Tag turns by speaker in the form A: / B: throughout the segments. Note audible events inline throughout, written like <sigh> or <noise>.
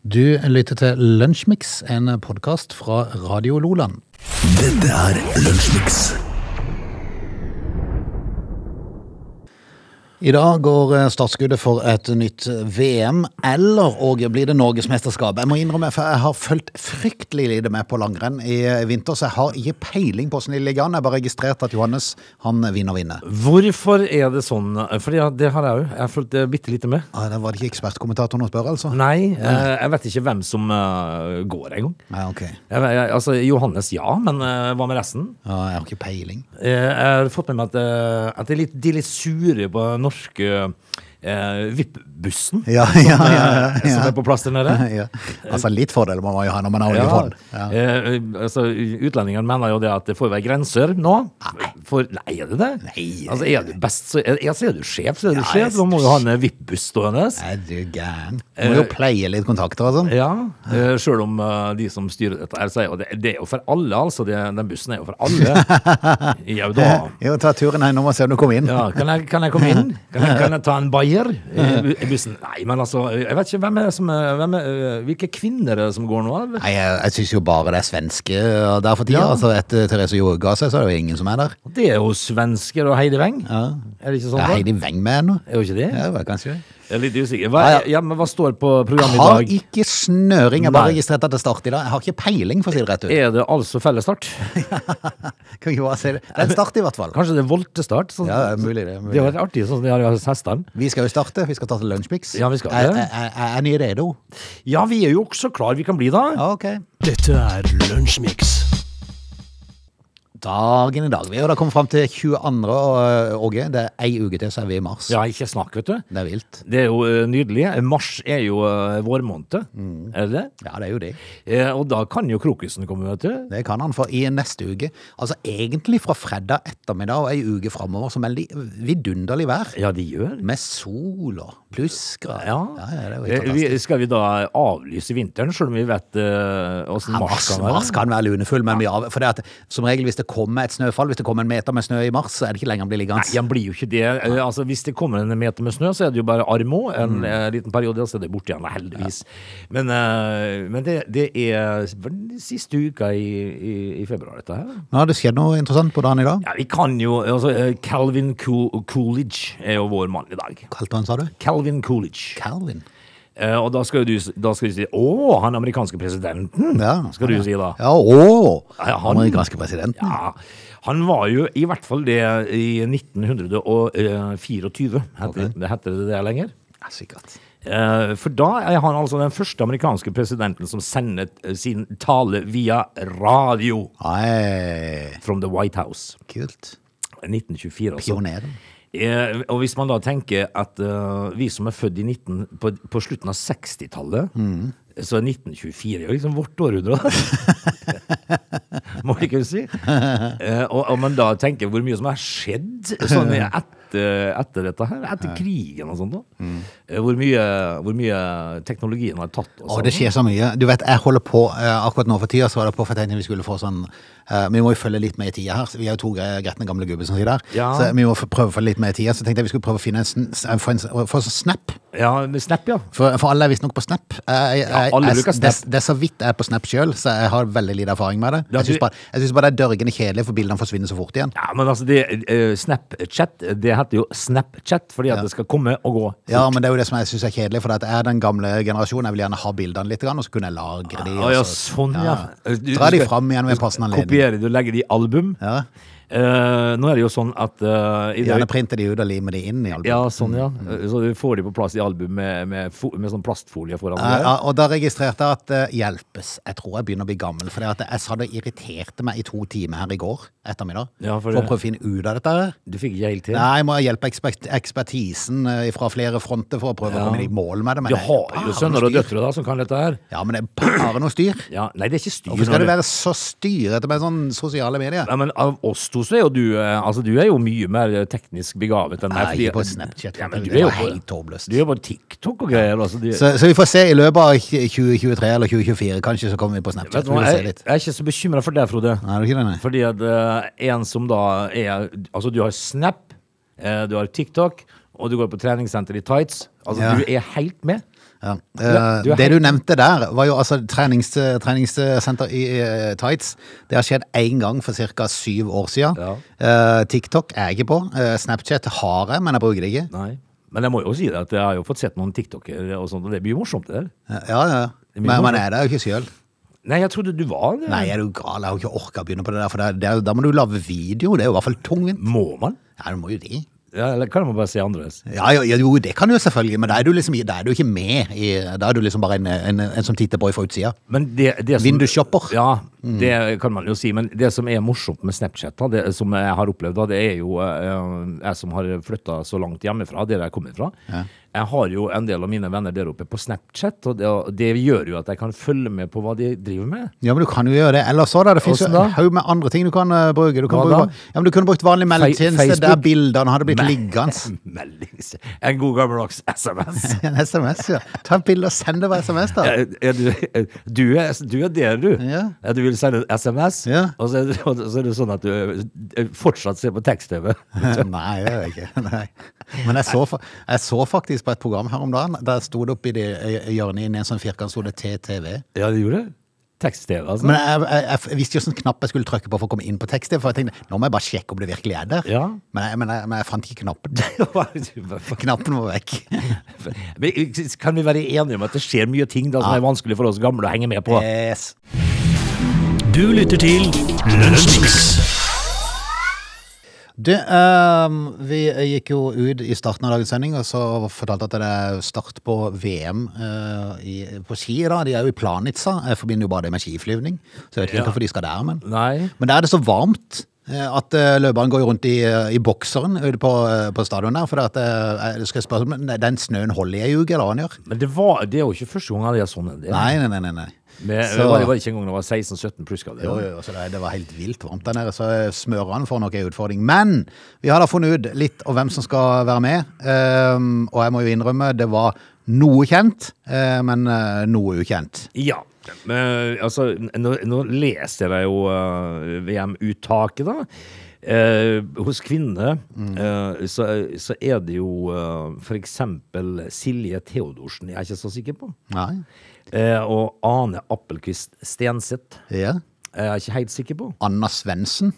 A: Du lytter til Lunsjmix, en podkast fra Radio Loland.
B: Dette er Lunsjmix.
A: I dag går eh, startskuddet for et nytt VM, eller og blir det Norgesmesterskap? Jeg må innrømme, for jeg har fulgt fryktelig lite med på langrenn i eh, vinter, så jeg har ikke peiling på hvordan de ligger an. Jeg har bare registrert at Johannes, han vinner vinner.
C: Hvorfor er det sånn? For ja, det har jeg jo. Jeg har fulgt det bitte lite med.
A: Ah, Det var det ikke ekspertkommentatoren å spørre, altså?
C: Nei, eh, jeg vet ikke hvem som eh, går engang.
A: Nei, ok.
C: Jeg, jeg, altså, Johannes ja, men eh, hva med resten?
A: Ja, jeg har ikke peiling.
C: Eh, jeg har fått med meg at, eh, at de, er litt, de er litt sure på den norske eh, VIP-bussen
A: Ja,
C: som,
A: ja, <laughs>
C: eh,
A: ja, ja.
C: som er på plass der nede.
A: <laughs> Ja. Altså, litt fordel må man jo ha når man har oljefondet. Ja.
C: Eh, altså, utlendingene mener jo det at det får være grenser nå. For, nei, er det det?
A: Nei.
C: Altså, er du best, så er, ja, så er du sjef, så er du
A: Ja, jeg-
C: sjef. Da må du ha en eh, VIP-buss stående.
A: Er du gæren? Må jo pleie litt kontakter og sånn.
C: Ja, eh, sjøl om eh, de som styrer dette her, sier Og det, det er jo for alle, altså. Det, den bussen er jo for alle.
A: <laughs>
C: Jau da.
A: Jo, ta turen her nå og se om du kommer inn.
C: Ja, kan, jeg, kan jeg komme inn? Kan jeg, kan jeg ta en bayer i bu- i bussen? Nei, men altså, jeg vet ikke hvem er det som er, hvem er, eh, Hvilke kvinner er det som går nå? eller?
A: Nei, jeg, jeg syns jo bare det er svenske eh, der for tida.
C: Ja.
A: Altså, etter Therese Joe ga seg, så er det jo ingen som er der.
C: Det er jo svensker og Heidi Weng.
A: Ja.
C: Er det ikke
A: Er
C: sånn? da?
A: Heidi Weng med ennå?
C: Er jo ikke det?
A: Ja, det var kanskje det.
C: Jeg er litt usikker. Hva,
A: Ja, ja.
C: ja, men hva står på programmet i
A: Har
C: dag?
A: ikke snøring. Jeg har bare
C: Nei.
A: registrert at det starter i dag. Jeg har ikke peiling, for å si det rett ut.
C: Er det altså fellesstart? Eh,
A: <laughs> Kan ikke bare si det. Det er en start, i hvert fall.
C: Kanskje det er voltestart? Sånn,
A: Ja, det er mulig det. er
C: det
A: Mulig.
C: har vært artig, sånn som de har hos hestene.
A: Vi skal jo starte. Vi skal starte Lunsjmix.
C: Ja, vi skal
A: Er,
C: det.
A: er, er, er ni redo?
C: Ja, vi er jo også klar vi kan bli da.
A: Ja, ok.
B: Dette er Lunsjmix.
A: Dagen i dag. Vi har da kommet fram til 22. og, eh, Åge. Det er ei uke til, så er vi i mars.
C: Ja, ikke snakk, vet du.
A: Det er vilt.
C: Det er jo eh, nydelig. Mars er jo eh, vårmåned, er det det?
A: Ja, det er jo det.
C: Eh, Og da kan jo krokusen komme, vet du.
A: Det kan han for i neste uke. Altså egentlig fra fredag ettermiddag og ei uke framover, så melder de vidunderlig vær.
C: Ja, de gjør.
A: Med sol og pluskere.
C: Ja.
A: ja, det er jo
C: Eh,
A: helt
C: vi,
A: fantastisk.
C: skal vi da avlyse vinteren, selv om vi vet eh, hvordan
A: Ja,
C: mars
A: mars,
C: kan
A: mars
C: være?
A: kan være lunefull, men vi av, for det at, som regel hvis det kommer et snøfall, hvis det kommer en meter med snø i mars, så er det ikke lenger å bli liggende.
C: Nei, han blir jo ikke det. Eh, Altså, hvis det kommer en meter med snø, så er det jo bare armo en eh, liten periode, og så er det borte igjen, heldigvis. Men, eh, men det, det er vel siste uka i, i, i februar, dette her.
A: Nå har det skjedd noe interessant på dagen i dag.
C: Ja, vi kan jo altså, eh, Calvin Cool- Coolidge er jo vår mann i dag.
A: Kalte han, sa du?
C: Calvin Coolidge.
A: Calvin.
C: Eh, og da skal jo du, s- da skal du si Å, han amerikanske presidenten!
A: Ja,
C: skal du si da.
A: Ja, å!
C: Ja, han-
A: Amerikanske presidenten.
C: Ja, Han var jo i hvert fall det i 1924. eh, Heter, det heter det det lenger?
A: Ja, sikkert.
C: Eh, For da er han altså den første amerikanske presidenten som sender eh, sin tale via radio
A: Nei,
C: from the White House.
A: kult.
C: 1924, altså.
A: Pioneren.
C: Eh, og hvis man da tenker at eh, vi som er født i 19, på, på slutten av 60-tallet,
A: Mm.
C: så er 1924 jo liksom vårt
A: <laughs>
C: århundre. Må vi ikke si? Eh, og om man da tenker hvor mye som har skjedd sånn etter, etter dette her, etter krigen og sånt, da.
A: Mm.
C: Eh, hvor, mye, hvor mye teknologien har tatt og
A: Og
C: sånn.
A: det skjer så mye. Du vet, jeg holder på eh, akkurat nå for tida, så var det på for jeg tenkte vi skulle få sånn eh, Vi må jo følge litt med i tida her. så Vi er jo to gre- gretne gamle gubber som sitter der.
C: Ja.
A: Så vi må få- prøve å følge litt med i tida. Så tenkte jeg vi skulle prøve å finne en, sn s- eh, få en, s- få en snap.
C: Ja, med Snap, ja.
A: For, for alle er visstnok på Snap. Jeg, jeg,
C: Ja,
A: jeg,
C: alle
A: jeg,
C: bruker
A: det,
C: Snap.
A: det er så vidt jeg er på Snap sjøl, så jeg har veldig lite erfaring med det.
C: Ja,
A: Jeg
C: du-
A: syns bare, jeg synes bare det er dørgende kjedelig, for bildene forsvinner så fort igjen.
C: Ja, men altså, det, eh, Snapchat, det heter jo Snapchat, fordi at det skal komme og gå.
A: Ja, men det er jo det som jeg syns er kjedelig, for at jeg er den gamle generasjonen. Jeg vil gjerne ha bildene litt, grann, og så kunne jeg lagre de.
C: Å ja,
A: og så-
C: sånn, ja.
A: Ja.
C: Du-
A: Dra
C: du
A: de
C: skal-
A: fram igjen ved en passende
C: du
A: anledning.
C: Kopierer de og legger de i album.
A: Ja.
C: Eh, nå er det jo sånn at eh, i
A: Gjerne Mm.
C: dag,
A: printe de ut og lime de inn i albumet.
C: Ja, sånn, ja. Eh, Så du får de på plass i album med, med, fo med sånn plastfolie foran.
A: Ja,
C: der.
A: ja, og da registrerte jeg at eh, hjelpes, jeg tror jeg begynner å bli gammel, for det at jeg sa det irriterte meg i to timer her i går ettermiddag,
C: Ja, for
A: for, å
C: det-
A: prøve å finne ut av dette her.
C: Du fikk ikke helt til.
A: Nei, jeg må hjelpe ekspert, ekspertisen eh, fra flere fronter for å prøve å
C: Ja.
A: komme i mål med det. men
C: Du
A: det er
C: har
A: bare noe
C: jo sønner og
A: styr.
C: døtre da som kan dette her.
A: Ja, men det er bare noe styr.
C: Ja, nei, det er ikke styr.
A: Hvorfor skal
C: når
A: det være så styrete med sånn sosiale medier?
C: Ja, men av oss to så er jo du eh, Altså, du er jo mye mer eh, teknisk begavet enn meg.
A: Nei,
C: fordi-
A: ikke på Snapchat,
C: Ja, men
A: det
C: du er jo
A: var
C: på,
A: helt håpløst.
C: du er jo på TikTok og greier. Altså, du,
A: Så, så vi får se i løpet av 2023 eller 2024, kanskje, så kommer vi på Snapchat.
C: vet du hva,
A: Vi får se
C: jeg,
A: litt.
C: jeg er ikke så bekymra for deg, Frode.
A: Nei, er du ikke det? Nei?
C: Fordi at eh, en som da er Altså, du har Snap, eh, du har TikTok, og du går på treningssenter i tights. Altså,
A: Ja.
C: du er helt med.
A: Ja.
C: Ja, du er
A: Eh, det du nevnte der, var jo altså trenings, treningssenter i eh, tights. Det har skjedd én gang for ca. syv år siden.
C: Ja.
A: Eh, TikTok er jeg ikke på. Eh, Snapchat har jeg, men jeg bruker det ikke.
C: Nei. Men jeg må jo si det at jeg har jo fått sett noen TikToker og sånt, og det blir jo morsomt, det der.
A: Eh, Ja, ja.
C: mye
A: Men man
C: morsomt.
A: er der jo ikke sjøl.
C: Nei, jeg trodde du var det.
A: Nei, er du gal? Jeg har jo ikke orka å begynne på det der. For det er, det er, jo- da må du lage video. Det er jo i hvert fall tungvint.
C: Må man?
A: Ja, du må jo det.
C: Ja, eller kan man bare si andres?
A: Ja, ja, ja, jo, det kan du jo selvfølgelig, men da er du liksom i- da er du ikke med. I, da er du liksom bare en, en, en som titter på fra utsida.
C: Men det, det som,
A: Vindushopper.
C: Ja, det kan man jo si. Men det som er morsomt med Snapchat, da, det som jeg har opplevd, da, det er jo eh, jeg som har flytta så langt hjemmefra, der jeg kommer fra. Jeg har jo en del av mine venner der oppe på Snapchat, og det, og det gjør jo at jeg kan følge med på hva de driver med.
A: Ja, men du kan jo gjøre det. Ellers så da, det finnes jo
C: Hvordan
A: en
C: da?
A: haug med andre ting du kan eh, bruke. Du, kan
C: Hva
A: bruke
C: da?
A: ja, men du kunne brukt vanlig meldingstjeneste
C: Facebook?
A: der bildene hadde blitt
C: Nei.
A: liggende. <laughs>
C: <laughs> Meldings... En god gammeldags SMS.
A: En SMS, ja. Ta et bilde og send det på SMS, da.
C: Er, er du, du, er, du er der, du.
A: Ja.
C: Du vil sende en SMS,
A: Ja.
C: og så er, det, og så er det sånn at du fortsatt ser på tekst-TV.
A: <laughs> Nei, det gjør jeg ikke. <laughs> Nei. Men jeg så, fa- jeg så faktisk på et program her om dagen. Der sto det oppi det eh, hjørnet inn i en sånn firkant, sto det TTV.
C: Ja, det gjorde det. Tekst-TV, altså.
A: Men jeg, jeg, jeg visste jo sånn knapp jeg skulle trykke på for å komme inn på tekst. For jeg tenkte, nå må jeg bare sjekke om det virkelig er der.
C: Ja.
A: Men, jeg, men, jeg, men jeg fant ikke knappen. <laughs>
C: Men
A: Knappen var vekk.
C: eh, kan vi være enige om at det skjer mye ting da som er vanskelig for oss gamle å henge med på?
A: Yes.
B: Du lytter til Lunsjmix.
A: Du, ehm, vi gikk jo ut i starten av dagens sending, og så fortalte jeg at det er start på VM eh, i, på ski. da. De er jo i Planica. Jeg forbinder jo bare det med skiflyvning. Så jeg vet ikke
C: Ja.
A: hvorfor de skal der, men.
C: Nei.
A: Men der er det så varmt. eh, At eh, løperen går rundt i, eh, i bokseren ute på, eh, på stadion der. For det at, eh, jeg skal spørre, men den snøen holder i ei uke, eller hva han gjør?
C: Men det, var, det er jo ikke første gang jeg har sånn en del.
A: Nei, nei, nei. nei, nei.
C: Men,
A: Så-
C: Det var det var ikke engang da jeg var 16-17 pluss. skal det
A: Jo,
C: være.
A: jo, jo, så det, det var helt vilt varmt der nede, så eh, smørene får nok en utfordring. Men vi har da funnet ut litt om hvem som skal være med, ehm, og jeg må jo innrømme, det var noe kjent, eh, men eh, noe ukjent.
C: Ja. Men, altså, nå, nå leser jeg jo eh, VM-uttaket, da. Eh, hos kvinner eh, så, så er det jo eh, for eksempel Silje Theodorsen, jeg er ikke så sikker på.
A: Nei.
C: Eh, og Ane Appelquist Stenseth, eh,
A: Ja.
C: jeg er ikke helt sikker på.
A: Anna Svensen.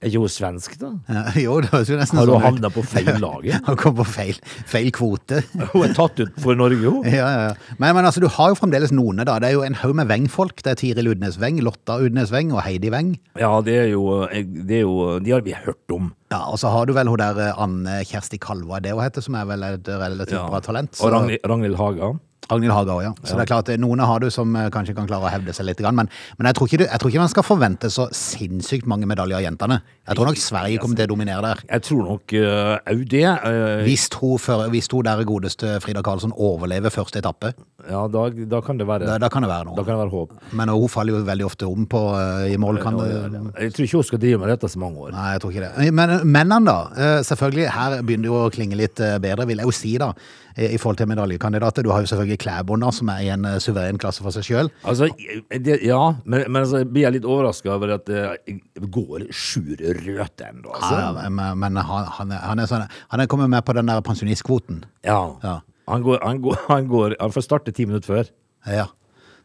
C: Er ikke hun svensk, da?
A: Ja, <laughs> Jo, det høres jo nesten
C: Har hun
A: sånn ut.
C: havna på feil laget?
A: Han kom på feil, feil kvote.
C: <laughs>
A: <laughs>
C: Hun er tatt ut for Norge, hun.
A: Ja, ja, ja. Men, men altså, du har jo fremdeles noen da. Det er jo en haug med Weng-folk. Det er Tiril Udnes Weng, Lotta Udnes Weng og Heidi Weng.
C: Ja, det er jo, det er jo De har vi hørt om.
A: Ja, og så har du vel hun der eh, Anne Kjersti Kalva, det hun heter, som er vel et relativt
C: Ja.
A: bra talent. Så,
C: Og Ragnhild, Ragnhild Haga.
A: Ragnhild Haga også, ja. Så det er klart, eh, noen har du som eh, kanskje kan klare å hevde seg litt, grann, men, men jeg, tror ikke du, jeg tror ikke man skal forvente så sinnssykt mange medaljer av jentene. Jeg tror nok Sverige kommer til å dominere der.
C: Jeg tror nok eh, òg det. eh,
A: Hvis hun, før, hvis hun der godeste Frida Karlsson overlever første etappe,
C: ja, da, da kan det være
A: da,
C: Da
A: da kan det være noe.
C: kan det være håp.
A: Men hun faller jo veldig ofte om på, eh, i mål, kan det...
C: Jeg tror ikke hun skal drive med dette så mange år.
A: Nei, jeg tror ikke det. Eh, Men mennene, da. eh, Selvfølgelig, her begynner det jo å klinge litt eh, bedre, vil jeg jo si, da. eh, I forhold til medaljekandidater. Du har jo selvfølgelig Klæbo nå, som er i en eh, suveren klasse for seg sjøl.
C: Altså, det, ja, men, men altså, jeg blir jeg litt overraska over at det går Sjur Røthe ennå, altså.
A: Men men han, han, er, han er sånn Han er kommet med på den der pensjonistkvoten.
C: Ja.
A: Ja.
C: Han går, han, går, han går Han får starte ti minutter før.
A: Ja.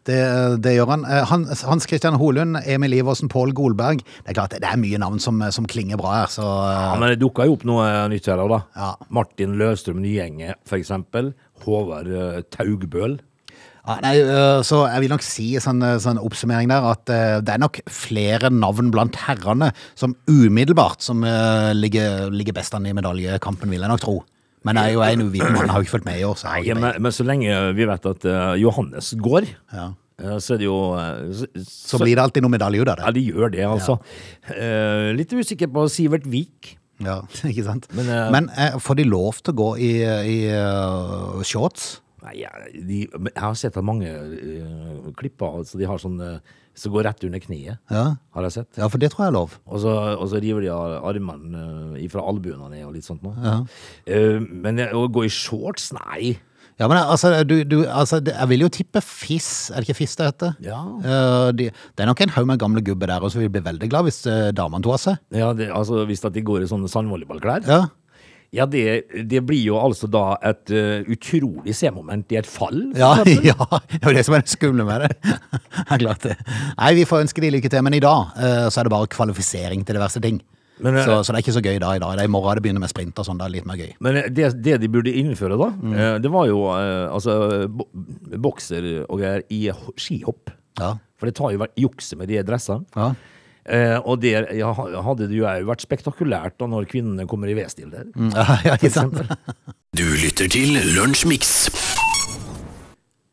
A: Det, det gjør han. Eh, han. Hans Christian Holund, Emil Iversen, Pål Golberg. Det er klart, det er mye navn som, eh, som klinger bra her, så eh,
C: Ja, men det dukka jo opp noe nytt her òg, da.
A: Ja.
C: Martin Løvstrøm Nyenge, for eksempel. Håvard eh, Taugbøl.
A: Ja, nei, øh, så jeg vil nok si sånn, øh, sånn oppsummering der at øh, det er nok flere navn blant herrene som umiddelbart som øh, ligger, ligger best an i medaljekampen, vil jeg nok tro. Men det er jo en uviten mann, har jo ikke fulgt med i år. Så jeg har
C: Ja,
A: ikke
C: men, men så lenge vi vet at eh, Johannes går,
A: Ja.
C: eh, så er det jo eh, Så,
A: så blir det alltid noe medalje ut av
C: Ja,
A: det.
C: de gjør det, altså. Eh, litt usikker på Sivert Vik.
A: Ja, <laughs> ikke sant?
C: Men,
A: Men,
C: øh,
A: øh, får de lov til å gå i, i øh, shorts?
C: Nei, jeg- de, men jeg har sett at mange eh, klipper altså, de har sånn eh, som går rett under kneet.
A: Ja.
C: Har jeg sett.
A: Ja, for det tror jeg er lov.
C: Og så, og så river de av armene eh, fra albuene ned og litt sånt noe. Eh, men eh, å gå i shorts, nei.
A: Ja, men altså, du, du, altså det- jeg vil jo tippe fiss, er det ikke fiss det heter?
C: Ja.
A: Eh, de, det er nok en haug med gamle gubber der, og så vil bli veldig glad hvis eh, damene tar seg.
C: Ja, det, altså Hvis at de går i sånne sandvolleyballklær.
A: Ja.
C: Ja, det, det blir jo altså da et eh, utrolig semoment i et fall. for
A: Ja, <laughs>
C: eksempel.
A: ja, det var det som er det skumle med det. <laughs> Ja, klart det. Nei, vi får ønske de lykke til, men i dag eh, så er det bare kvalifisering til diverse ting.
C: Men, eh,
A: så, så det er ikke så gøy da i dag. Det er i morgen det begynner med sprint og sånn, da er det litt mer gøy.
C: <laughs> Men eh, det, det de burde innføre da, eh, det var jo eh, altså, bo bokser og greier i ho- skihopp.
A: Ja.
C: For det tar jo vært jukse med de dressene.
A: Ja. <laughs>
C: Eh, og det ja, ha- hadde det jo er jo vært spektakulært da når kvinnene kommer i V-stil der.
A: Ja, ja, ikke sant?
B: Du lytter til Lunsjmix.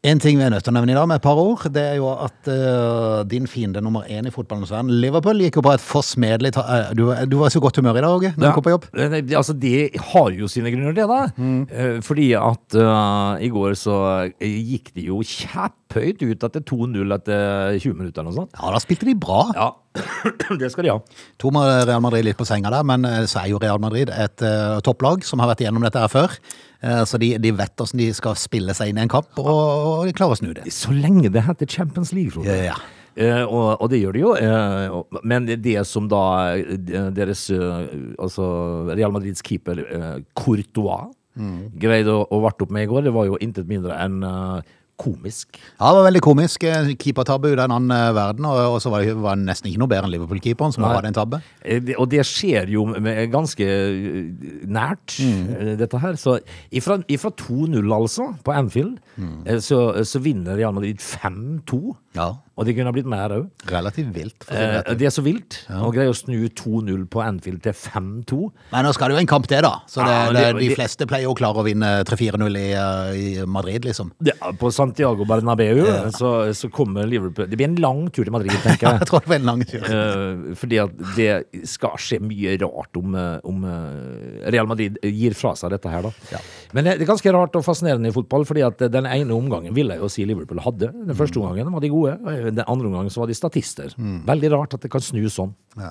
A: En ting vi er nødt til å nevne i dag med et par ord, det er jo at eh, din fiende nummer én i fotballens verden, Liverpool, gikk jo på et forsmedelig ta eh, du, du var i så godt humør i dag, Åge, når
C: Ja.
A: du kom på jobb. Mm.
C: Eh, nei, det- Altså, det har jo sine grunner, det, da. Eh, Fordi at eh, i går så eh, gikk det jo kjepphøyt ut etter 2-0 etter 20 minutter eller noe sånt.
A: Ja, da spilte de bra.
C: Ja, <clears throat> det skal de ha.
A: To med Real Madrid litt på senga der, men eh, så er jo Real Madrid et eh, topplag som har vært igjennom dette her før. Eh, så de, de vet hvordan de skal spille seg inn i en kamp, og, og de klarer å snu det.
C: Så lenge det heter Champions League, Frode.
A: Ja, ja.
C: Eh, og, og det gjør det jo. eh, og- men det som da eh, deres eh, Altså Real Madrids keeper eh, Courtois
A: Mm.
C: greide å, å varte opp med i går, det var jo intet mindre enn eh, komisk.
A: Ja, det var veldig komisk. Eh, Keepertabbe ut av en annen eh, verden, og, og så var det var det nesten ikke noe bedre enn Liverpool-keeperen som
C: Nei.
A: hadde en tabbe.
C: Eh, det- Og det skjer jo med ganske eh, nært,
A: Mm.
C: eh, dette her. Så ifra, ifra 2-0, altså, på Anfield, eh, så, så vinner Real Madrid 5-2.
A: Mm. Ja,
C: Og det kunne ha blitt mer òg.
A: relativt vilt. For å si det rett
C: Eh,
A: ut.
C: det er så vilt. Og greier å snu 2-0 på Anfield til 5-2.
A: Men nå skal det jo en kamp til, da. Så det,
C: Ja, men
A: det,
C: det-
A: de
C: det-
A: fleste pleier jo å klare å vinne 3-4-0 i, eh, i Madrid, liksom.
C: Det, på Santiago Bernabeu så, så kommer Liverpool Det blir en lang tur til Madrid, tenker jeg.
A: Jeg tror det var en lang tur.
C: Eh, fordi at det skal skje mye rart om, eh, om eh, Real Madrid gir fra seg dette her, da.
A: Ja.
C: Men det det er ganske rart og fascinerende i fotball, fordi at den ene omgangen ville jeg jo si Liverpool hadde.
A: Mm.
C: Den første omgangen var de gode, og den andre omgangen så var de statister.
A: Mm.
C: Veldig rart at det kan snu sånn.
A: Ja.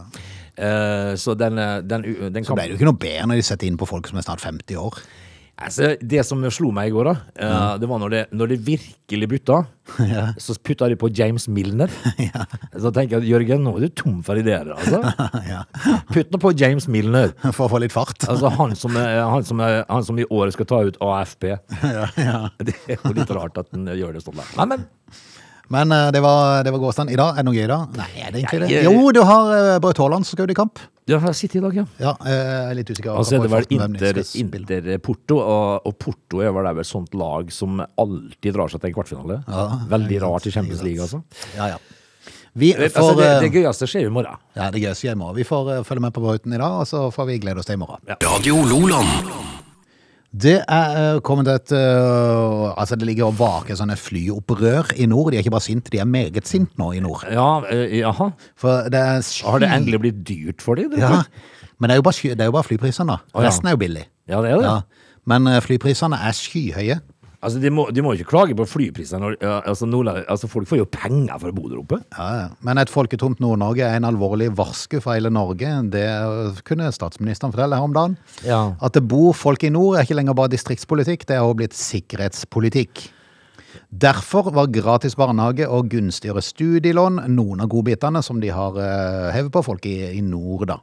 C: Eh, så den, eh, den, u- den
A: Så ble det jo ikke noe bedre når de setter inn på folk som er snart 50 år. <laughs>
C: Altså, det som slo meg i går, da, eh, det var når det, når det virkelig butta.
A: <laughs>
C: Så putta de på James Milner. Så tenker jeg at Jørgen, nå er du tom for ideer,
A: <laughs>
C: altså.
A: ja.
C: Putt nå på James Milner.
A: For å få litt fart.
C: Altså han som, er, han, som er, han som i år skal ta ut
A: <laughs>
C: AFP.
A: ja, ja.
C: Det er jo litt rart at han gjør det sånn. der. Nei, men
A: Men eh, det var, det var gåstand. I dag, er det noe gøy i dag? Nei, er det egentlig det?
C: Jeg-
A: Jo, du har eh, Braut Haaland som skal ut i kamp.
C: ja, her sitter i dag, ja.
A: Ja, eh, jeg er litt usikker.
C: Og så er Altså, det vel
A: på hvem de
C: Inter,
A: skal spille.
C: Inter Porto, og, og Porto er vel det er vel et sånt lag som alltid drar seg til en kvartfinale.
A: Ja,
C: Veldig
A: ikke sant,
C: rart i Champions League,
A: ikke
C: altså.
A: sant. Ja, ja. Vi får,
C: altså det, det
A: eh,
C: gøyeste skjer jo i morgen.
A: ja, det gøyeste jeg må. Vi får eh, følge med på Brauten i dag, og så får vi glede oss til i morgen.
B: Radio Loland.
A: Det er eh, kommet et eh, Altså, det ligger og vaker sånne flyopprør i nord. De er ikke bare sinte, de er meget sinte nå i nord.
C: Ja, eh, jaha.
A: For det er
C: Har det endelig blitt dyrt for dem?
A: Ja. Men det er jo bare, sky- det er jo bare flyprisene, da.
C: Å, ja.
A: Resten er jo billig.
C: ja, det er det.
A: Ja. Men eh, flyprisene er skyhøye.
C: Altså, de, må, de må jo ikke klage på flyprisene. når- ja, Altså, Nordland- altså, folk får jo penger for å bo der oppe.
A: Ja, ja. Men et folketomt Nord-Norge er en alvorlig varsku for hele Norge. Det eh, kunne statsministeren fortelle her om dagen.
C: Ja.
A: At det bor folk i nord er ikke lenger bare distriktspolitikk, det er også blitt sikkerhetspolitikk. Derfor var gratis barnehage og gunstigere studielån noen av godbitene som de har eh, hevet på folk i, i nord, da.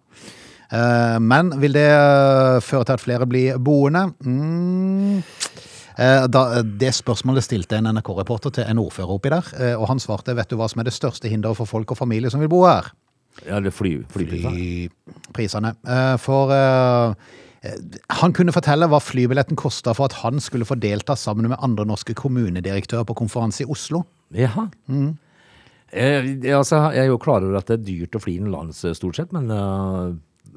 A: Eh, Men vil det eh, føre til at flere blir boende? Mm. Eh, Da, det spørsmålet stilte en NRK-reporter til en ordfører oppi der, eh, og han svarte 'Vet du hva som er det største hinderet for folk og familie som vil bo her?'
C: Ja, det er fly, flypriser.
A: i prisene. Eh, For eh, eh, han kunne fortelle hva flybilletten kosta for at han skulle få delta sammen med andre norske kommunedirektører på konferanse i Oslo.
C: Jaha.
A: Mm.
C: Eh, det- altså, jeg er jo klar over at det er dyrt å fly innenlands eh, stort sett, men, eh,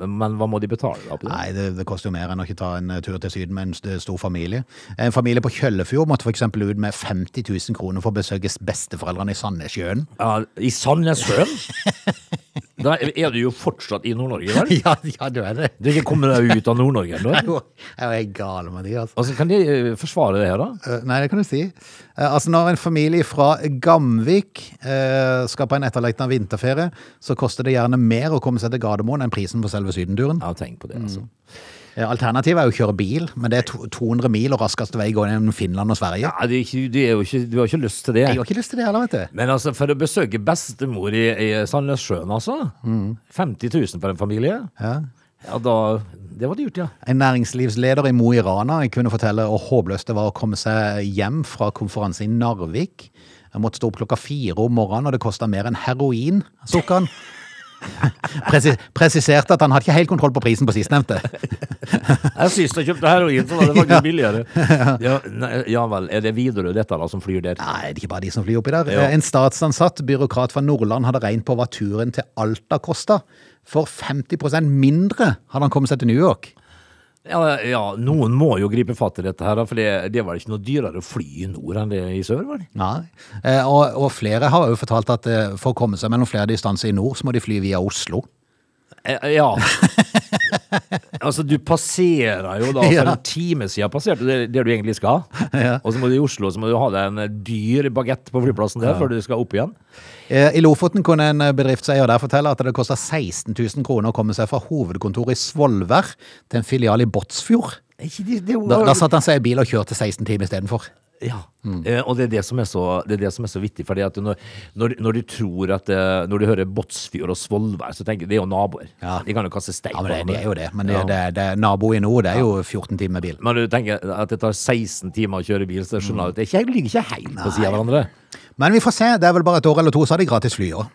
C: men hva må de betale da? på det?
A: Nei, det, det koster jo mer enn å ikke ta en eh, tur til Syden med en st- stor familie. En familie på Kjøllefjord måtte f.eks. ut med 50 000 kroner for å besøke besteforeldrene i Sandnessjøen. <laughs>
C: Ja, I Sandnessjøen? <laughs> da er du jo fortsatt i Nord-Norge, vel?
A: Ja, ja, du er det. <laughs>
C: Du er ikke kommet deg ut av Nord-Norge ennå?
A: Jo, Jeg er gal med de, altså.
C: Altså, kan de eh, forsvare det her, da?
A: Eh, Nei, det kan du si. Eh, Altså, når en familie fra Gamvik eh, skal på en etterlengtet vinterferie, så koster det gjerne mer å komme seg til Gardermoen enn prisen på selve sydenturen.
C: Ja, tenk på det, altså.
A: Eh, Alternativet er jo å kjøre bil, men det er to- 200 mil og raskeste vei går gjennom Finland og Sverige.
C: Ja, det er ikke, det er jo ikke, du har ikke lyst til det.
A: Jeg har ikke lyst til det heller, vet du.
C: Men altså, for å besøke bestemor i, i Sandnessjøen, altså. 50 000 for en familie.
A: Mm. Ja.
C: Ja, da Det var dyrt, ja.
A: En næringslivsleder i Mo i Rana kunne fortelle hvor håpløst det var å komme seg hjem fra konferanse i Narvik. Jeg måtte stå opp klokka fire om morgenen, og det kosta mer enn heroin, sukket han. <laughs> Presi presiserte at han hadde ikke helt kontroll på prisen på sistnevnte.
C: Jeg sist jeg kjøpte heroin, så var det <laughs> faktisk billigere. Ja, nei, ja vel. Er det Widerøe dette da som flyr der?
A: Nei, det er ikke bare de som flyr oppi der. Eh,
C: Ja.
A: En statsansatt byråkrat fra Nordland hadde regnet på hva turen til Alta kosta. For 50 mindre hadde han kommet seg til New York.
C: Ja, ja, noen må jo gripe fatt i dette her, da, for det, det var ikke noe dyrere å fly i nord enn det i sør, var det?
A: Nei. Eh, Og, og flere har jo fortalt at eh, for å komme seg mellom flere distanser i nord, så må de fly via Oslo.
C: Eh, Ja. <laughs> altså, du passerer jo da, for
A: Ja.
C: en time siden passerte du det, det du egentlig skal. Og så må du i Oslo, så må du ha deg en dyr bagett på flyplassen der før du skal opp igjen.
A: Eh, I Lofoten kunne en bedriftseier der fortelle at det kosta 16 000 kroner å komme seg fra hovedkontoret i Svolvær til en filial i Båtsfjord.
C: Ikke det, det,
A: Da, da satte han seg i bil og kjørte 16 timer istedenfor.
C: Ja,
A: Mm.
C: eh, og det er det som er så, det er det som er så vittig, fordi at når, når, når du tror at, eh, når du hører Båtsfjord og Svolvær, så tenker du, det er jo naboer.
A: Ja.
C: De kan jo kaste stein
A: Ja, men det,
C: på
A: det er jo det. Men det,
C: Ja.
A: det, det, nabo i nord, det er jo 14 timer bil.
C: Når du tenker at det tar 16 timer å kjøre bil, så
A: Mm.
C: skjønner du at det ikke- ligger ikke helt på siden av hverandre.
A: Men vi får se. Det er vel bare et år eller to, så har de gratis fly òg.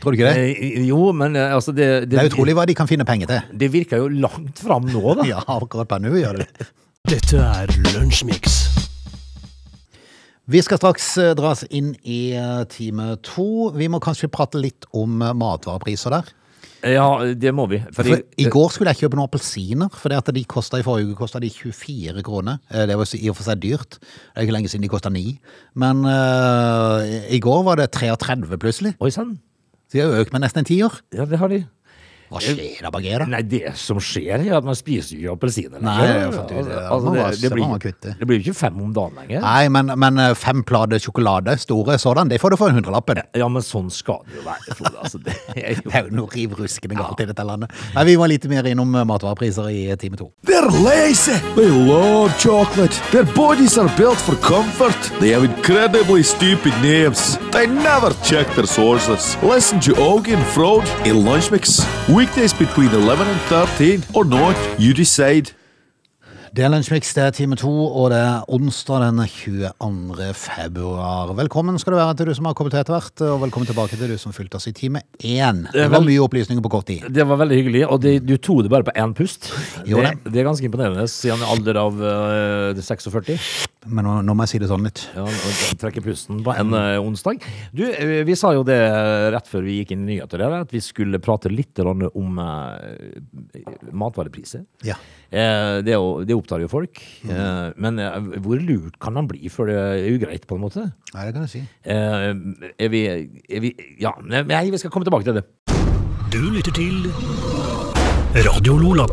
A: Tror du ikke det?
C: Eh, Jo, men eh, altså det,
A: Det
C: det,
A: er utrolig hva de kan finne penger til.
C: det virker jo langt fram nå, da.
A: Ja, akkurat per nå gjør det det.
B: Dette er Lunsjmix.
A: Vi skal straks eh, dras inn i eh, time to. Vi må kanskje prate litt om eh, matvarepriser der.
C: Ja, det må vi. fordi-
A: For I går skulle jeg kjøpe noen appelsiner, for det at de kostet, i forrige uke kosta de 24 kroner. Eh, Det var jo i og for seg dyrt. Det er ikke lenge siden de kosta 9. Men eh, i går var det 33 plutselig.
C: Eh, Oi sann.
A: Så de har jo økt med nesten en tiår.
C: Ja, det har de.
A: Hva skjer da, Bagheera?
C: Nei, det som skjer, er at man spiser jo ikke appelsiner.
A: Nei,
C: lenger.
A: ja, for at du-
C: Altså,
A: ja,
C: altså,
A: man bare-
C: det, det,
A: man må
C: blir,
A: kutte.
C: det blir jo ikke fem om dagen lenger.
A: Nei, men, men eh, fem plater sjokolade, store sådan, det får du for en hundrelappen.
C: Ja, men sånn skal det jo være, Frode. Altså, det er <laughs> jo
A: Det er jo noe rivruskende galt i dette landet. Nei, vi var litt mer innom eh, matvarepriser i time to.
D: They're lazy. They love chocolate. Their bodies are built for comfort. They have incredibly stupid names. They never check their sources. Listen to Augie and Frode in Lunch Mix. Weekdays between 11 and 13 or not, you decide.
A: Det er Lunsjmix, det er time to, og det er onsdag den 22. februar. Velkommen skal du være til du som har kommet etter hvert, og velkommen tilbake til du som fulgte oss i time én. Det var
C: vel-
A: mye opplysninger på kort tid.
C: Det var veldig hyggelig, og det, du tok det bare på én pust.
A: Jo,
C: det, det er ganske imponerende, siden alder av eh, 46.
A: Men nå, nå må jeg si det sånn litt.
C: Ja, og trekke pusten på en eh, onsdag. Du, eh, vi sa jo det rett før vi gikk inn i nyheter, her, at vi skulle prate litt grann om eh, matvarepriser.
A: Ja.
C: Eh, det, er jo- det opptar jo folk. Eh, men eh, hvor lurt kan man bli før det er ugreit, på en måte?
A: Nei, det kan du si.
C: Eh, er, vi, er vi Ja, nei, vi skal komme tilbake til det.
B: Du lytter til Radio Lola.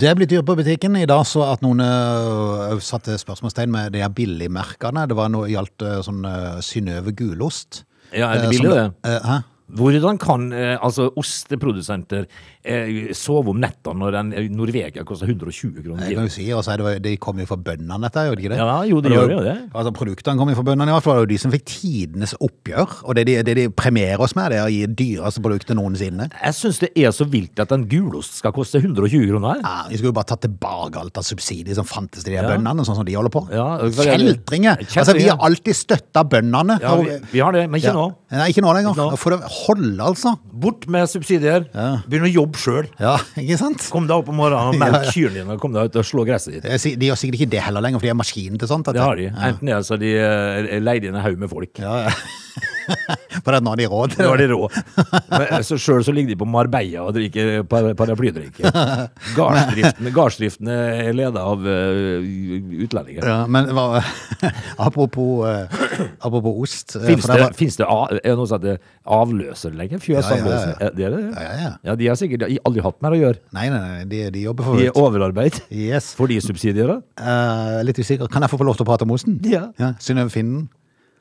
A: Det er blitt dyrt på butikken. I dag så at noen ø, satte spørsmålstegn med de her billigmerkene. Det var noe gjaldt ø, sånn ø, Synnøve gulost.
C: Ja, er det
A: Eh,
C: billig,
A: som-
C: det?
A: eh, hæ?
C: Hvordan kan eh, altså osteprodusenter eh, sove om nettene når en eh, Norvegia koster 120 kroner?
A: Jeg kan jo
C: kiloen?
A: si, og så er det, vel- de kom jo fra bøndene dette, gjorde de ikke det?
C: Ja, jo, de
A: Og
C: gjør
A: var-
C: jo det.
A: Altså, produktene kom jo fra bøndene i hvert fall, det var jo de som fikk tidenes oppgjør, og det de, det de premierer oss med, det er å gi dyreste produktet noensinne.
C: Jeg syns det er så vilt at en gulost skal koste 120 kroner.
A: Ja, vi skulle jo bare tatt tilbake alt av subsidier som fantes til de her
C: Ja.
A: bøndene, sånn som de holder på.
C: Ja, og hva er det?
A: Kjeltringer! Altså, vi har alltid støtta bøndene.
C: Ja, vi, vi har det, men ikke
A: Ja.
C: nå.
A: Nei, ikke nå lenger.
C: Ikke nå.
A: Da får det holde, altså.
C: Bort med subsidier. Begynn å jobbe sjøl.
A: Ja, ikke sant?
C: Kom deg opp om
A: <laughs>
C: morgenen og melk kyrne dine, og kom deg ut og slå gresset ditt.
A: Jeg si- De gjør sikkert ikke det heller lenger, for de har maskinen til sånt. at
C: Det har de.
A: Ja.
C: Enten det, er så de eh, leide inn en haug med folk.
A: Ja, ja. For det er nå de har råd til
C: Nå er
A: det.
C: de rå. Men eh, så Sjøl så ligger de på Marbella og drikker par- paraplydrikke.
A: <laughs>
C: Gardsdriften, gardsdriften er leda av eh, utlendinger.
A: Ja, men hva, <laughs> apropos, eh, apropos ost eh,
C: Fins
A: for det
C: det,
A: var-
C: finnes det a- er det noe som heter avløser lenger? Fjøsavløser?
A: Ja, ja, ja.
C: Er Det er det?
A: Ja, ja, ja.
C: De har sikkert aldri hatt mer å gjøre.
A: Nei, nei, nei de, de jobber for
C: De er
A: fullt.
C: overarbeid.
A: Yes.
C: <laughs> Får de subsidier, da?
A: Eh, litt usikker. Kan jeg få lov til å prate om osten?
C: Ja.
A: Synnøve Finden.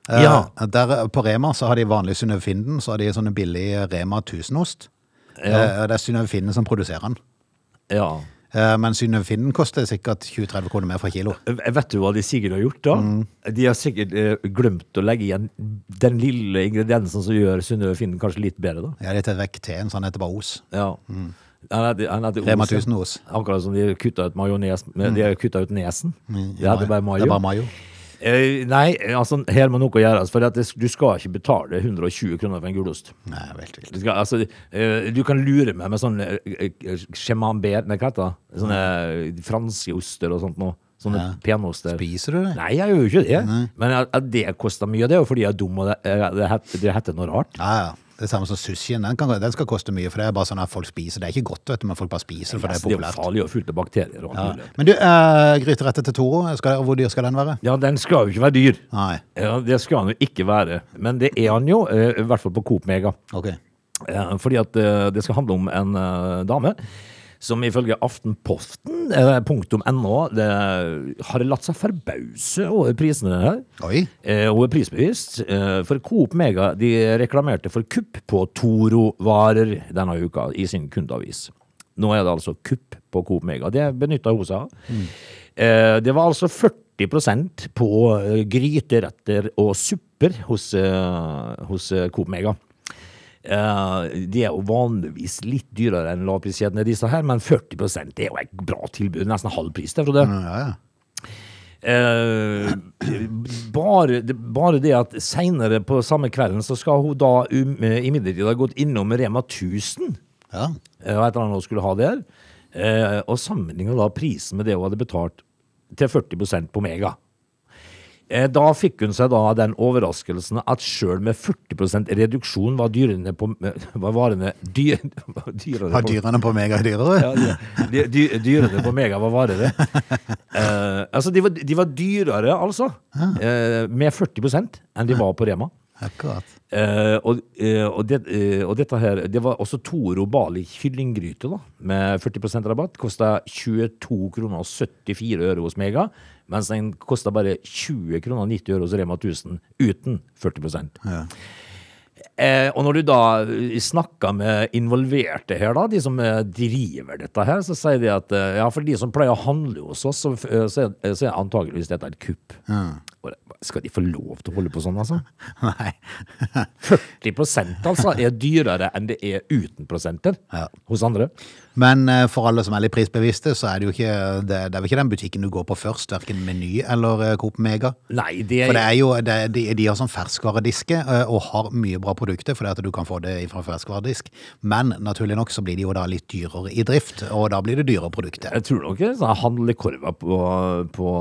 A: Eh,
C: Ja.
A: Der på Rema så har de vanlig Synnøve Finden, så har de sånne billig Rema 1000-ost.
C: Ja.
A: Eh, det er Synnøve Finden som produserer den.
C: Ja.
A: Eh, men Synnøve Finden koster sikkert 20-30 kroner mer fra kilo.
C: Vet du hva de sikkert har gjort, da?
A: Mm.
C: De har sikkert eh, glemt å legge igjen den lille ingrediensen som gjør Synnøve Finden kanskje litt bedre, da.
A: Ja, det er til vekk til en sånn heter bare os.
C: Ja. Han heter, han heter
A: Rema
C: Olsen.
A: 1000 Os.
C: Akkurat som de kutta ut majones men De har kutta ut nesen. Det heter bare
A: Mm.
C: mayo.
A: Det er bare mayo.
C: Eh, nei, altså, her må noe gjøres. For at det, du skal ikke betale 120 kroner for en gulost.
A: Nei, helt vilt.
C: Du, skal, altså, eh, du kan lure meg med sånn chemambert, nei, hva heter det? Sånne eh, franske oster og sånt noe. Sånne penoster.
A: Spiser du det?
C: Nei, jeg gjør jo ikke det. Men at, at det koster mye, det er jo fordi jeg er dum, og det, eh, det, het- det heter noe rart.
A: Ja, ja. Det samme som sushien. Den, kan, den skal koste mye, for det er bare sånn at folk spiser. Det er ikke godt, vet du, men folk bare spiser det, for det er
C: Altså, det er jo
A: populært.
C: farlig og fullt av bakterier og alt
A: Ja.
C: mulig.
A: Men du, uh, gryterette til Toro, skal, hvor dyr skal den være?
C: Ja, den skal jo ikke være dyr.
A: Nei.
C: Ja, Det skal han jo ikke være. Men det er han jo, eh, i hvert fall på Coop Mega.
A: Ok.
C: Eh, Fordi at eh, det skal handle om en eh, dame som ifølge Aftenposten, eh, punktum NO, det har latt seg forbause over prisene her.
A: Oi.
C: Eh, Hun er prisbevisst. eh, For Coop Mega de reklamerte for kupp på Toro-varer denne uka i sin kundeavis. Nå er det altså kupp på Coop Mega. Det benytta hun seg av. Eh, Det var altså 40 på eh, gryteretter og supper hos, eh, hos eh, Coop Mega. Eh, De er jo vanligvis litt dyrere enn lavpriskjedene, disse her, men 40 det er jo et bra tilbud. Nesten halv pris, det, Frode.
A: Ja, ja.
C: Eh, bare, det- bare det at seinere på samme kvelden så skal hun da um, eh, imidlertid ha gått innom Rema 1000
A: ja.
C: eh, og et eller annet hun skulle ha der, eh, og sammenligna da prisen med det hun hadde betalt til 40 på Mega. Eh, Da fikk hun seg da den overraskelsen at sjøl med 40 reduksjon var dyrene på eh, Var varene dyr, <laughs> var dyrere
A: Har
C: på-
A: dyrene på mega dyrere?
C: ja, de- de- de- Dyrene på Mega var varere. Eh, altså, de var, de var dyrere, altså. eh, med 40 enn de var på Rema.
A: Akkurat. <laughs>
C: Eh, og, eh, og, det, eh, og dette her Det var også Toro Bali kyllinggryte da med 40 rabatt. Kosta 22 kroner og 74 øre hos Mega, mens den kosta bare 20 kroner og 90 øre hos Rema 1000 uten 40 Eh, og når du da eh, snakker med involverte her, da, de som eh, driver dette her, så sier de at eh, ja, for de som pleier å handle hos oss, så, eh, så, er- så er antageligvis dette et kupp. Og det- Skal de få lov til å holde på sånn, altså?
A: Nei.
C: 40 altså er dyrere enn det er uten prosenter
A: Ja.
C: hos andre.
A: Men eh, for alle som er litt prisbevisste, så er det jo ikke Det, det er vel ikke den butikken du går på først, verken Meny eller eh, Coop Mega.
C: Nei, det
A: For det er jo, det, de, de har sånn ferskvarediske eh, og har mye bra produkter, fordi at du kan få det fra ferskvaredisk. Men naturlig nok så blir de jo da litt dyrere i drift, og da blir det dyrere produkter.
C: Jeg tror nok det er sånn handlekorva på, på,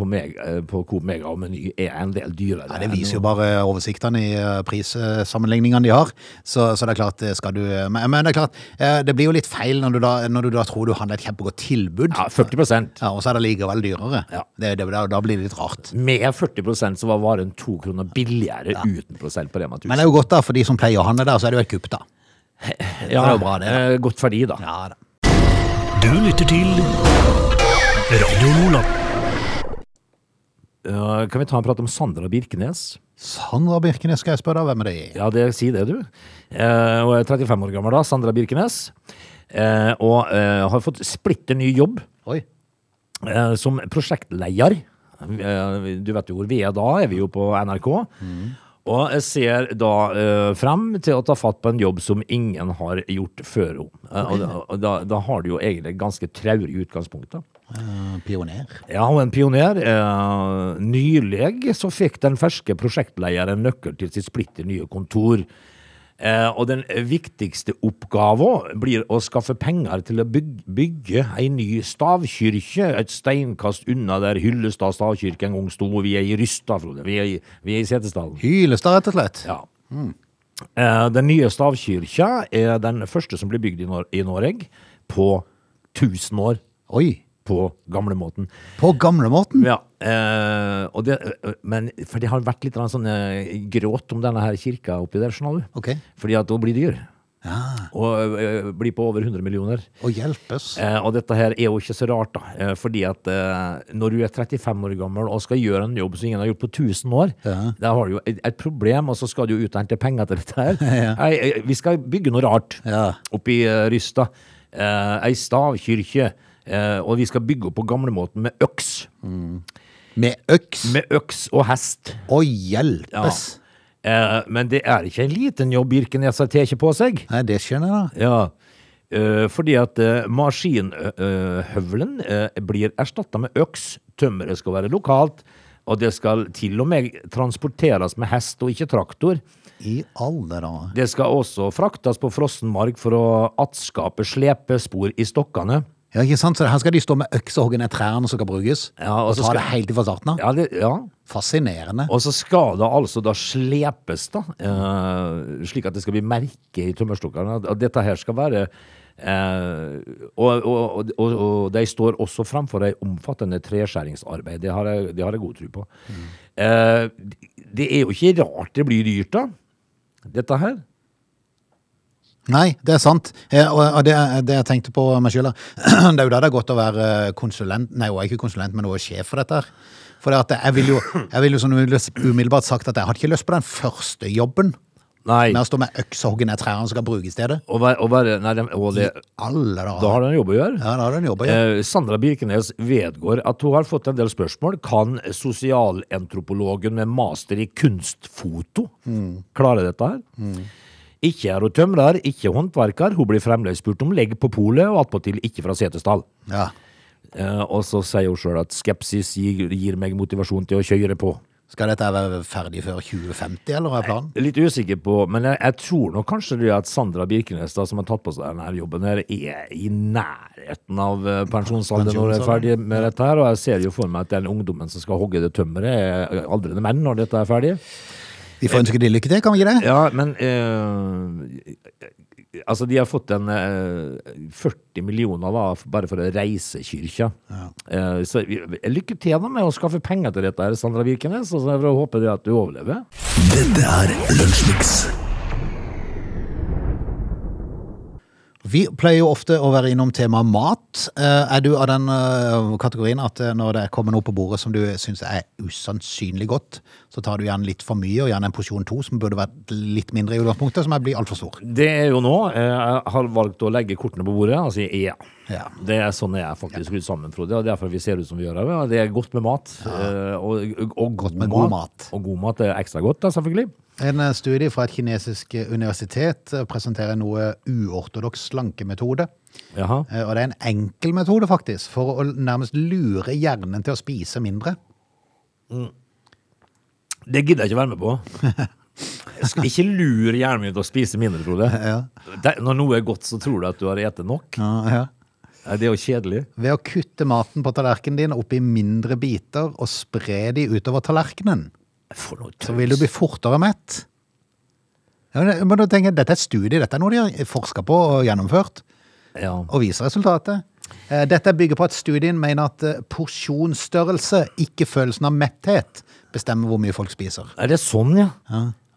C: på, mega, på Coop Mega og Meny er en del dyrere.
A: Ja, det viser jo bare oversiktene i eh, prissammenligningene de har. Så, så det er klart, eh, skal du Men, men det er klart, eh, det blir jo litt feil når du da, når du da tror du handler et kjempegodt tilbud,
C: Ja, 40
A: ja, og så er det likevel dyrere.
C: Ja.
A: Det, det, da, da blir det litt rart.
C: Med 40 så var varen to kroner billigere uten prosent på Rema 1000.
A: Men det er jo godt, da, for de som pleier å handle der, så er det jo et kupp, da.
C: <laughs>
A: det
C: ja,
A: er jo bra, det, da.
C: eh, Godt verdi, da.
A: Ja da.
B: Du lytter til Radio Lola.
C: Eh, kan vi ta en prat om Sandra Birkenes?
A: Sandra Birkenes, skal jeg spørre deg, hvem er det?
C: Ja, det, si det, du. Eh, hun er 35 år gammel da, Sandra Birkenes. Eh, og eh, har fått splitter ny jobb
A: Oi.
C: eh, som prosjektleder. Eh, du vet jo hvor vi er da, er vi jo på NRK. Og jeg ser da eh, frem til å ta fatt på en jobb som ingen har gjort før henne. Eh, og da, og da, da har du jo egentlig et ganske traurig utgangspunkt, da.
A: Eh, Pioner.
C: Ja, og en pioner. Eh, nylig så fikk den ferske prosjektlederen nøkkel til sitt splitter nye kontor. Eh, og den viktigste oppgaven blir å skaffe penger til å bygge, bygge ei ny stavkirke et steinkast unna der Hyllestad stavkirke en gang sto. Vi er i Rysta, Frode. Vi er i, vi er i Setesdalen.
A: Hylestad, rett og slett.
C: Ja. Eh, Den nye stavkirka er den første som blir bygd i, Nor i Norge på 1000 år
A: Oi.
C: på gamlemåten.
A: På gamlemåten?
C: Ja, eh, og det, eh, men, for det har vært litt grann sånn eh, gråt om denne her kirka oppi der, skjønner du.
A: Ok.
C: Fordi at hun blir dyr. Og eh, blir på over 100 millioner.
A: Å hjelpes.
C: Eh, og dette her er jo ikke så rart, da. Eh, fordi at eh, når du er 35 år gammel og skal gjøre en jobb som ingen har gjort på 1000 år, da har du jo et, et problem, og så skal du jo ut og hente penger til dette her. Nei, eh, vi skal bygge noe rart
A: Ja.
C: oppi eh, Rysta. Eh, ei stavkirke. Eh, og vi skal bygge opp på gamlemåten med øks.
A: Med øks.
C: Med øks og hest.
A: Å hjelpes.
C: Eh, men det er ikke en liten jobb Birkenes har tatt på seg.
A: Nei, det skjønner jeg da.
C: Ja. Eh, Fordi at eh, maskinhøvelen eh, blir erstatta med øks. Tømmeret skal være lokalt, og det skal til og med transporteres med hest og ikke traktor.
A: I alle dager.
C: Det skal også fraktes på frossenmark for å attskape slepespor i stokkene.
A: Ja, ikke sant? Så her skal de stå med øks og hogge ned trærne som skal brukes,
C: Ja,
A: og,
C: og så
A: ta
C: skal-
A: det helt fra starten av.
C: Ja, det, ja.
A: Fascinerende.
C: Og så skal det altså da slepes, da, eh, slik at det skal bli merke i tømmerstokkene. At- At dette her skal være eh, og, og, og, og, og de står også framfor et omfattende treskjæringsarbeid. Det har jeg, det har jeg god tro på. Eh, det er jo ikke rart det blir dyrt, da, dette her.
A: Nei, det er sant. Eh, Og og det, det jeg tenkte på eh, meg sjøl, det er jo da <clears throat> det er godt å være eh, konsulent Nei, hun er ikke konsulent, men hun er sjef for dette her. For det at jeg ville jo, jeg vil jo sånn umiddelbart sagt at jeg hadde ikke lyst på den første jobben.
C: Nei.
A: Med å stå med øks og hogge ned trærne som skal bruke i stedet.
C: Og, være- og, være- nei, det- og det,
A: Alle
C: da
A: dager.
C: har det en jobb å gjøre.
A: Ja, da har du en jobb å gjøre.
C: Eh, Sandra Birkenes vedgår at hun har fått en del spørsmål. Kan sosialentropologen med master i kunstfoto klare dette her? Ikke er hun tømrer, ikke håndverker. Hun blir fremdeles spurt om legg på polet, og attpåtil ikke fra Setesdal.
A: Ja.
C: Eh, og så sier hun sjøl at skepsis gir, gir meg motivasjon til å kjøre på.
A: Skal dette være ferdig før 2050, eller hva er planen?
C: Litt usikker på, men jeg, jeg tror nok kanskje det at Sandra Birkenes, da, som har tatt på seg denne jobben, her, er i nærheten av eh, pensjonsalderen når hun er ferdig med dette. her, Og jeg ser jo for meg at den ungdommen som skal hogge det tømmeret, er aldrende menn når dette er ferdig.
A: Vi får ønske de lykke til, kan vi ikke det?
C: Ja, men eh, Altså, de har fått en eh, 40 millioner da, f- bare for å reise kirka. Eh, så vi- lykke til da med å skaffe penger til dette, her, Sandra Birkenes, og så får jeg håpe det at du overlever.
B: Dette er Lunsjmix.
A: Vi pleier jo ofte å være innom temaet mat. Eh, Er du av den eh, kategorien at eh, når det kommer noe på bordet som du syns er usannsynlig godt, så tar du gjerne litt for mye, og gjerne en porsjon to som burde vært litt mindre i utgangspunktet, som er- blir altfor stor?
C: Det er jo nå. eh, Jeg har valgt å legge kortene på bordet og si ja.
A: Ja.
C: Det er sånn jeg er faktisk skrudd sammen, Frode. Og derfor vi ser ut som vi gjør. her, og Det er godt med mat. eh, Og, og, og
A: Godt med god mat.
C: Og god mat er ekstra godt, da, selvfølgelig.
A: En eh, studie fra et kinesisk eh, universitet eh, presenterer noe uortodoks slankemetode.
C: Jaha.
A: Eh, Og det er en enkel metode, faktisk, for å nærmest lure hjernen til å spise mindre.
C: Det gidder jeg ikke være med på.
A: <laughs>
C: Jeg skal ikke lure hjernen min til å spise mindre, Frode. Det, når noe er godt, så tror du at du har spist nok.
A: Ja, ja.
C: Nei, Det er jo kjedelig.
A: Ved å kutte maten på tallerkenen din opp i mindre biter og spre de utover tallerkenen,
C: For noe
A: så vil du
C: tøys.
A: bli fortere mett. Ja, men- men da tenker jeg, Dette er et studie, dette er noe de har forska på og gjennomført,
C: Ja.
A: og viser resultatet. Eh, Dette bygger på at studien mener at eh, porsjonsstørrelse, ikke følelsen av metthet, bestemmer hvor mye folk spiser.
C: Er det sånn, ja?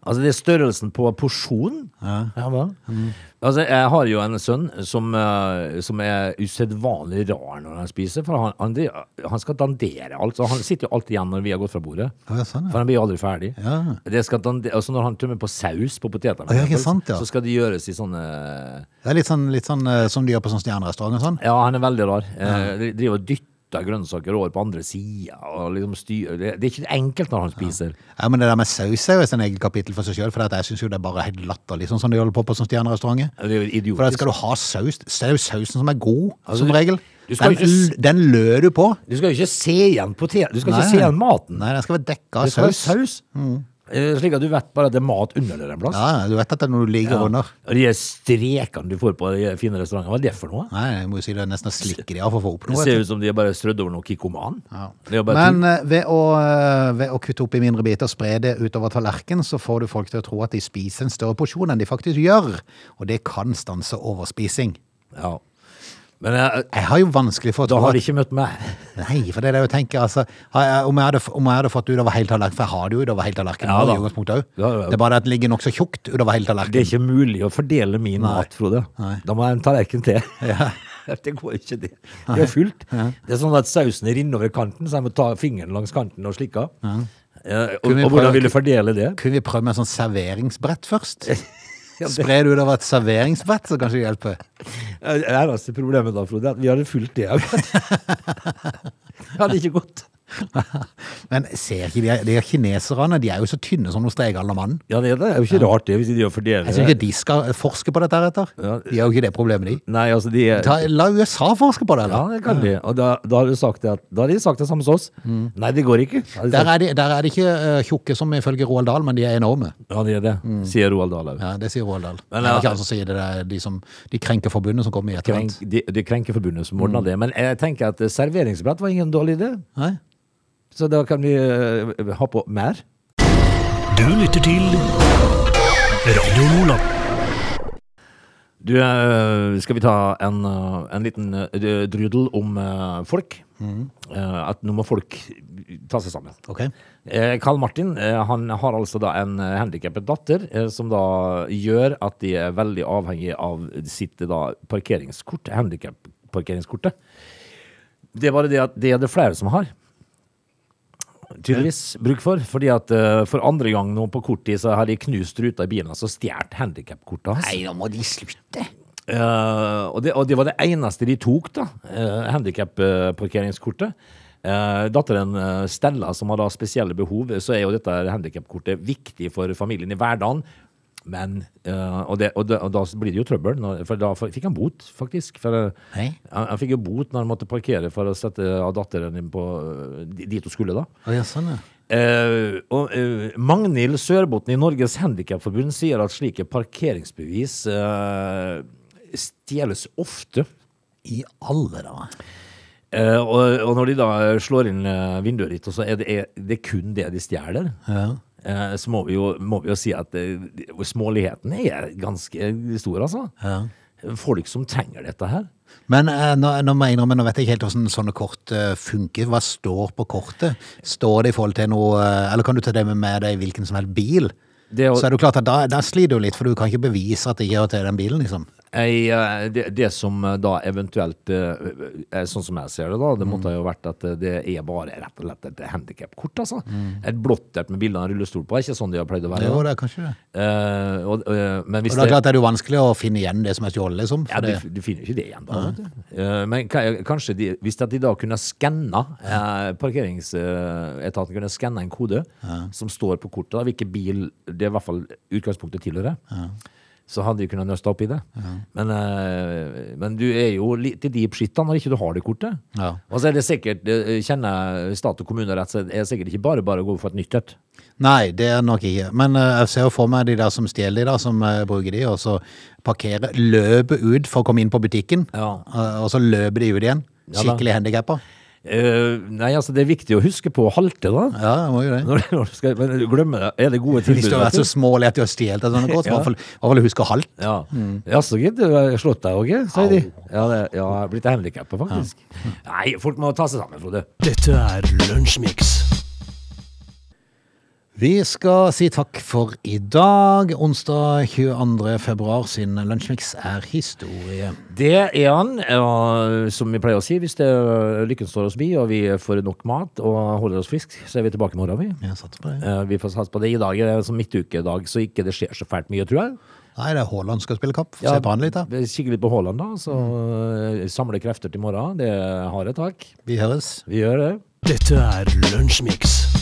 C: Altså det er størrelsen på porsjonen? Ja, vel.
A: Mm.
C: Altså, jeg har jo en sønn som, eh, som er usedvanlig rar når han spiser, for han, han, dri- han skal dandere alt. Så han sitter jo alltid igjen når vi har gått fra bordet.
A: Ja, sånn, ja.
C: For han blir jo aldri ferdig.
A: Ja.
C: Det skal dandere, altså når han tømmer på saus på potetene,
A: Ja, ikke
C: for eksempel,
A: sant, ja.
C: så skal det gjøres i sånne
A: Det er litt sånn, litt sånn eh, som de gjør på sånn stjernerestaurant og sånn.
C: Ja, han er veldig rar. Eh, de driver og dytter grønnsaker over på andre sida. Liksom styrer- det, det er ikke enkelt når han spiser.
A: Ja, men Det der med saus er jo et sånn eget kapittel for seg sjøl, for at jeg syns jo det er bare helt latterlig, sånn som de holder på på sånn stjernerestauranter.
C: Det er jo idiotisk.
A: For da skal du ha saus. Så er det jo sausen som er god, som regel.
C: Altså, du skal
A: Den,
C: jo ikke
A: den lø du på.
C: Du skal jo ikke se igjen potet... Du skal
A: Nei.
C: ikke se igjen maten.
A: Nei, den skal være dekka av
C: Det skal være
A: saus.
C: saus. Eh, Slik at du vet bare at det er mat under der en plass.
A: Ja, du vet at det er noe du ligger under.
C: Og de strekene du får på de fine restaurantene, hva er det for noe?
A: Nei, jeg må jo si det er nesten å slikke de av for å få opp
C: Det
A: noe.
C: ser
A: vet du.
C: ut som de er bare strødd over noe Kikkoman. Det er jo bare
A: Men
C: tull.
A: eh, ved å, eh, ved å kutte opp i mindre biter og spre det utover tallerkenen, så får du folk til å tro at de spiser en større porsjon enn de faktisk gjør. Og det kan stanse overspising.
C: ja. Men eh, jeg,
A: Jeg har jo vanskelig for å
C: da
A: tro
C: har
A: at
C: de ikke møtt meg.
A: Nei, for det er det jeg tenker. Altså, har jeg, om, jeg hadde, om jeg hadde fått utover hele tallerkenen, for jeg har det jo utover hele tallerkenen
C: Ja
A: nå,
C: da.
A: i utgangspunktet også.
C: Ja, ja, ja.
A: Det er bare det at det ligger nokså tjukt utover hele
C: Det er
A: tallerkenen.
C: ikke mulig å fordele min mat, Frode.
A: Nei.
C: Da må jeg ha en tallerken til. <laughs> Det går ikke, det. Det er fullt. Det er sånn at sausen renner over kanten, så jeg må ta fingeren langs kanten og slikke av. Eh, og,
A: Kunne vi
C: og
A: prøve-
C: hvordan vil du fordele det?
A: Kunne vi prøvd med en sånn serveringsbrett
C: <laughs>
A: først? Spre det utover et serveringsbrett, så kanskje det hjelper.
C: altså Det eneste problemet da, Frode, er at vi hadde fulgt det òg. det hadde ikke gått.
A: Men ser ikke de, de kineserne, de er jo så tynne som noen strekhalende mann.
C: Ja, det er det. Det er jo ikke rart det, hvis de gjør fordeler.
A: Jeg syns ikke de skal forske på dette heretter.
C: Ja.
A: De har jo ikke det problemet, de.
C: Nei, altså, de er
A: Ta, la USA forske på det,
C: Ja,
A: eller?
C: det kan de. Og da, da, har, du sagt det at, da har de sagt det samme som oss. Nei, det går ikke. har de
A: Der
C: sagt.
A: er de, der er de ikke eh, tjukke som ifølge Roald Dahl, men de er enorme.
C: Ja, det er det, sier Roald Dahl òg.
A: Ja, det sier Roald Dahl.
C: Men,
A: det
C: ja.
A: er ikke han som sier det, det er de, som, de krenker forbundet som kommer i etterkant.
C: Krenk, de, de krenker forbundet som ordna det. Men jeg tenker at eh, serveringsbrett var ingen dårlig idé.
A: Nei?
C: Så da kan vi eh, ha på mer.
B: Du lytter til Radio Lola.
C: Du, eh, skal vi ta en, eh, en liten eh, drudel om eh, folk? Eh, At nå må folk ta seg sammen.
A: Ok.
C: Eh, Carl Martin eh, han har altså da en eh, handikappet datter, eh, som da gjør at de er veldig avhengige av sitt eh, da parkeringskort, handikapparkeringskortet. Det er bare det at det er det flere som har. Tydeligvis bruk for. Fordi at eh, for andre gang nå på kort tid så har de knust ruta i bilen hans og stjålet handikapkortet hans.
A: nå må de slutte.
C: Eh, og, det, og det var det eneste de tok, da. Uh, Handikapparkeringskortet. datteren eh, Stella, som har da spesielle behov, så er jo dette handikapkortet viktig for familien i hverdagen. Men, eh, og, det, og, det, og da blir det jo trøbbel, når, for da fikk han bot, faktisk. For, eh,
A: Hei.
C: han, han fikk jo bot når han måtte parkere for å sette av datteren inn på eh, dit hun skulle, da.
A: Å, ja, sånn, ja.
C: Eh, og, eh, Magnhild Sørbotn i Norges Handikapforbund sier at slike parkeringsbevis eh, stjeles ofte.
A: I alle dager.
C: Eh, og, og når de da slår inn eh, vinduet ditt, og så er det, er det kun det de stjeler,
A: Ja.
C: eh, så må vi, jo, må vi jo si at eh, småligheten er ganske stor, altså.
A: Ja.
C: Folk som trenger dette her.
A: Men eh, nå, nå må jeg innrømme, nå vet jeg ikke helt hvordan sånne kort eh, funker. Hva står på kortet? Står det i forhold til noe eh, Eller kan du ta det med, med deg i hvilken som helst bil?
C: Det er jo-
A: Så er det jo klart at da, da sliter du litt, for du kan ikke bevise at det ikke hører til den bilen, liksom.
C: Jeg, eh, det, det som eh, da eventuelt eh, er Sånn som jeg ser det, da. Det
A: Mm.
C: måtte jo vært at eh, det er bare rett og slett et handikapkort. Altså. Et blått et med bilde av en rullestol på. Er ikke sånn de har pleid å være.
A: Mm. Jo,
C: da.
A: det er kanskje det.
C: Eh, og, eh, men hvis
A: Og det er
C: det,
A: klart det er jo vanskelig å finne igjen det som er stjålet, liksom.
C: ja,
A: For
C: du,
A: det,
C: du finner jo ikke det igjen, da. vet du. Eh, men ka- kanskje de, hvis at de da kunne skanna eh, Parkeringsetaten kunne skanna en kode som står på kortet, da, hvilken bil det i hvert fall utgangspunktet tilhører. Så hadde de kunnet nøste opp i det. Men, eh, men du er jo litt i deep shit da når ikke du har det kortet.
A: Ja.
C: Og så er det sikkert, eh, kjenner jeg stat og kommune rett, så er det sikkert ikke bare bare å gå for et nytt et.
A: nei, det er nok ikke. Men eh, jeg ser jo for meg de der som stjeler de, da, som eh, bruker de, og så parkerer, løper ut for å komme inn på butikken,
C: Ja.
A: eh, og så løper de ut igjen.
C: Ja da.
A: Skikkelig handikappa.
C: Eh, nei, altså det er viktig å huske på å halte, da.
A: Ja, jeg må jo det.
C: Når, når du skal, men du glemmer det. Er det gode
A: Hvis
C: tilbud?
A: du har vært
C: vet
A: så smålig at du har stjålet et sånt <laughs> kort, så må
C: Ja.
A: i hvert fall- i hvert fall huske halvt.
C: Ja.
A: Mm.
C: ja, så gitt, du har slått deg òg, sier de. Ja, det, ja, jeg har blitt handikappa, faktisk. Nei, folk må ta seg sammen, Frode.
B: Dette er Lunsjmix.
A: Vi skal si takk for i dag. Onsdag 22. februar sin lunsjmix er historie.
C: Det er han, ja, som vi pleier å si. Hvis det, lykken står oss bi, og vi får nok mat og holder oss friske, så er vi tilbake i morgen, vi.
A: Jeg satser på det.
C: Eh, Vi får satse på det i dag. Det er som midtukedag, så ikke det skjer så fælt mye, tror jeg.
A: Nei, det er Haaland skal spille kapp. Få
C: Ja,
A: se på han litt, da. Mm.
C: Kikke litt på Haaland, da. Så eh, samle krefter til morgen. Det er harde tak.
A: Vi høres.
C: Vi gjør det.
B: Dette er Lunsjmix.